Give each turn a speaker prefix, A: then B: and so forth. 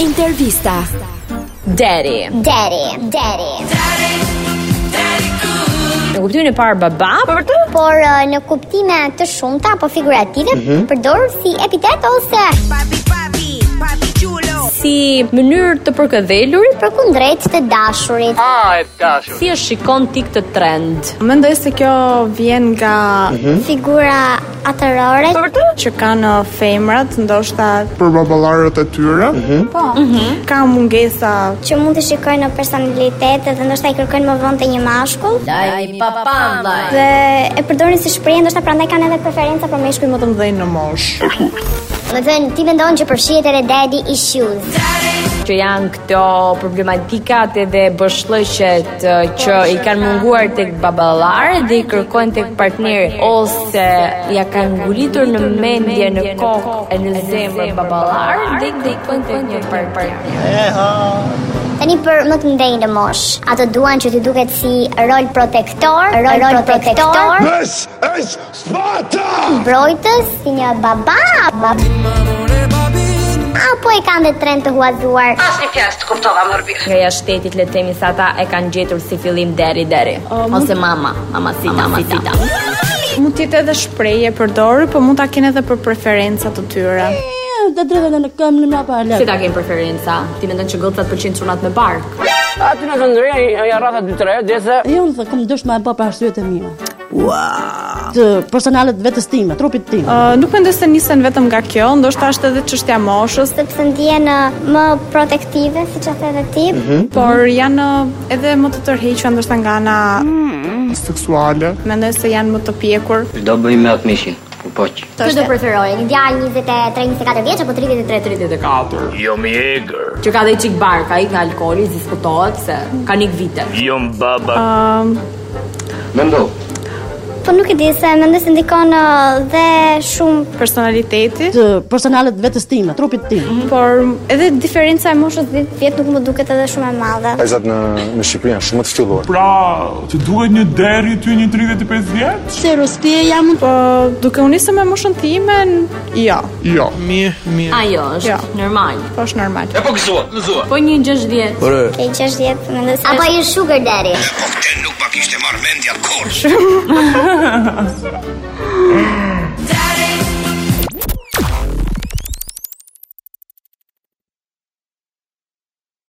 A: Intervista Deri
B: Deri, deri.
A: Në kuptimin e parë baba, po vërtet?
B: Por eh, në kuptime të shumta apo figurative përdor si epitet ose
C: Papi, papi, papi Gjulo
A: Si mënyrë të përkëdhelurit,
B: përkundrejt të dashurit.
A: si e shikon ti këtë trend?
D: Mendoj se kjo vjen nga
B: Mhm. Figura atërore
A: vërtet?
D: që kanë uh, femrat, ndoshta
E: për baballarët e tyre.
D: po, ka mungesa
B: që mund të shikojnë në personalitet dhe ndoshta i kërkojnë më vonë të një mashkull dhe e përdorin si shprehje, ndoshta prandaj kanë edhe preferenca për meshkuj më
D: të mdhej në mosh.
B: Do të thënë ti mendon që përfshihet edhe daddy issues.
A: Që janë këto problematikat edhe bëshllëqet eh, që i kanë munguar tek baballarë dhe i kërkojnë tek partneri ose ja kanë ngulitur në mendje, në kokë e në zemër baballarë dhe i kërkojnë tek një partner.
B: Tani për më të mdhenjë në mosh, ato duan që ti duket si rol protektor, rol, protektor,
E: This is Sparta!
B: mbrojtës, si një baba, apo e kanë dhe trend të huazuar.
C: Asë një pjesë të kuptova më nërbirë
A: Nga jashtëtit le të themi se ata e kanë gjetur si fillim deri deri ose mama, mama sita, mama sita.
D: Mund të jetë edhe shprehje përdorë, po mund ta kenë edhe për preferenca të tyre.
F: të drejtën në këmbë në mbrapa lë.
A: Si ta kem preferenca? Ti mendon që gocat pëlqejnë çunat me bark?
G: Aty në Zëndëria janë rratha 2-3 herë derisa
F: Unë dhe kam dëshmë e bërë për arsyet e mia. Wow. Të personalet vetës time, trupit tim.
D: Uh, nuk mendoj se nisen vetëm nga kjo, ndoshta është edhe çështja moshës,
B: sepse ndihen uh, më protektive, siç e the edhe ti.
D: por janë uh, edhe më të tërhequra ndoshta nga ana,
E: Seksuale.
D: mendoj se janë më të pjekur.
G: do bëj me atë mishin. Po po.
B: Kjo do preferoje, një djalë 23-24 vjeç apo 33
A: 34. Jo më egër. Që ka dhe i çik bark, ai nga alkooli diskutohet se ka nik vite.
D: Ëm,
G: Mendo.
B: Po nuk e di se mendoj se ndikon uh, dhe shumë
D: personaliteti,
F: Të personalet vetës time, trupit tim.
D: por edhe diferenca e moshës
B: vjet vjet nuk më duket edhe shumë e madhe.
H: Vajzat në në Shqipëri janë shumë të ftylluar.
E: Pra, të duhet një deri ty një 35 vjeç?
F: Se rostie jam
D: Po, duke u nisë me moshën time, n- jo,
E: Jo.
A: Ajo është
D: Ja.
A: normal.
D: po është normal.
A: Po një 60. Po
B: Ke 60, mendoj se apo i sugar daddy.
I: Nuk pa kishte marrë mendja kur.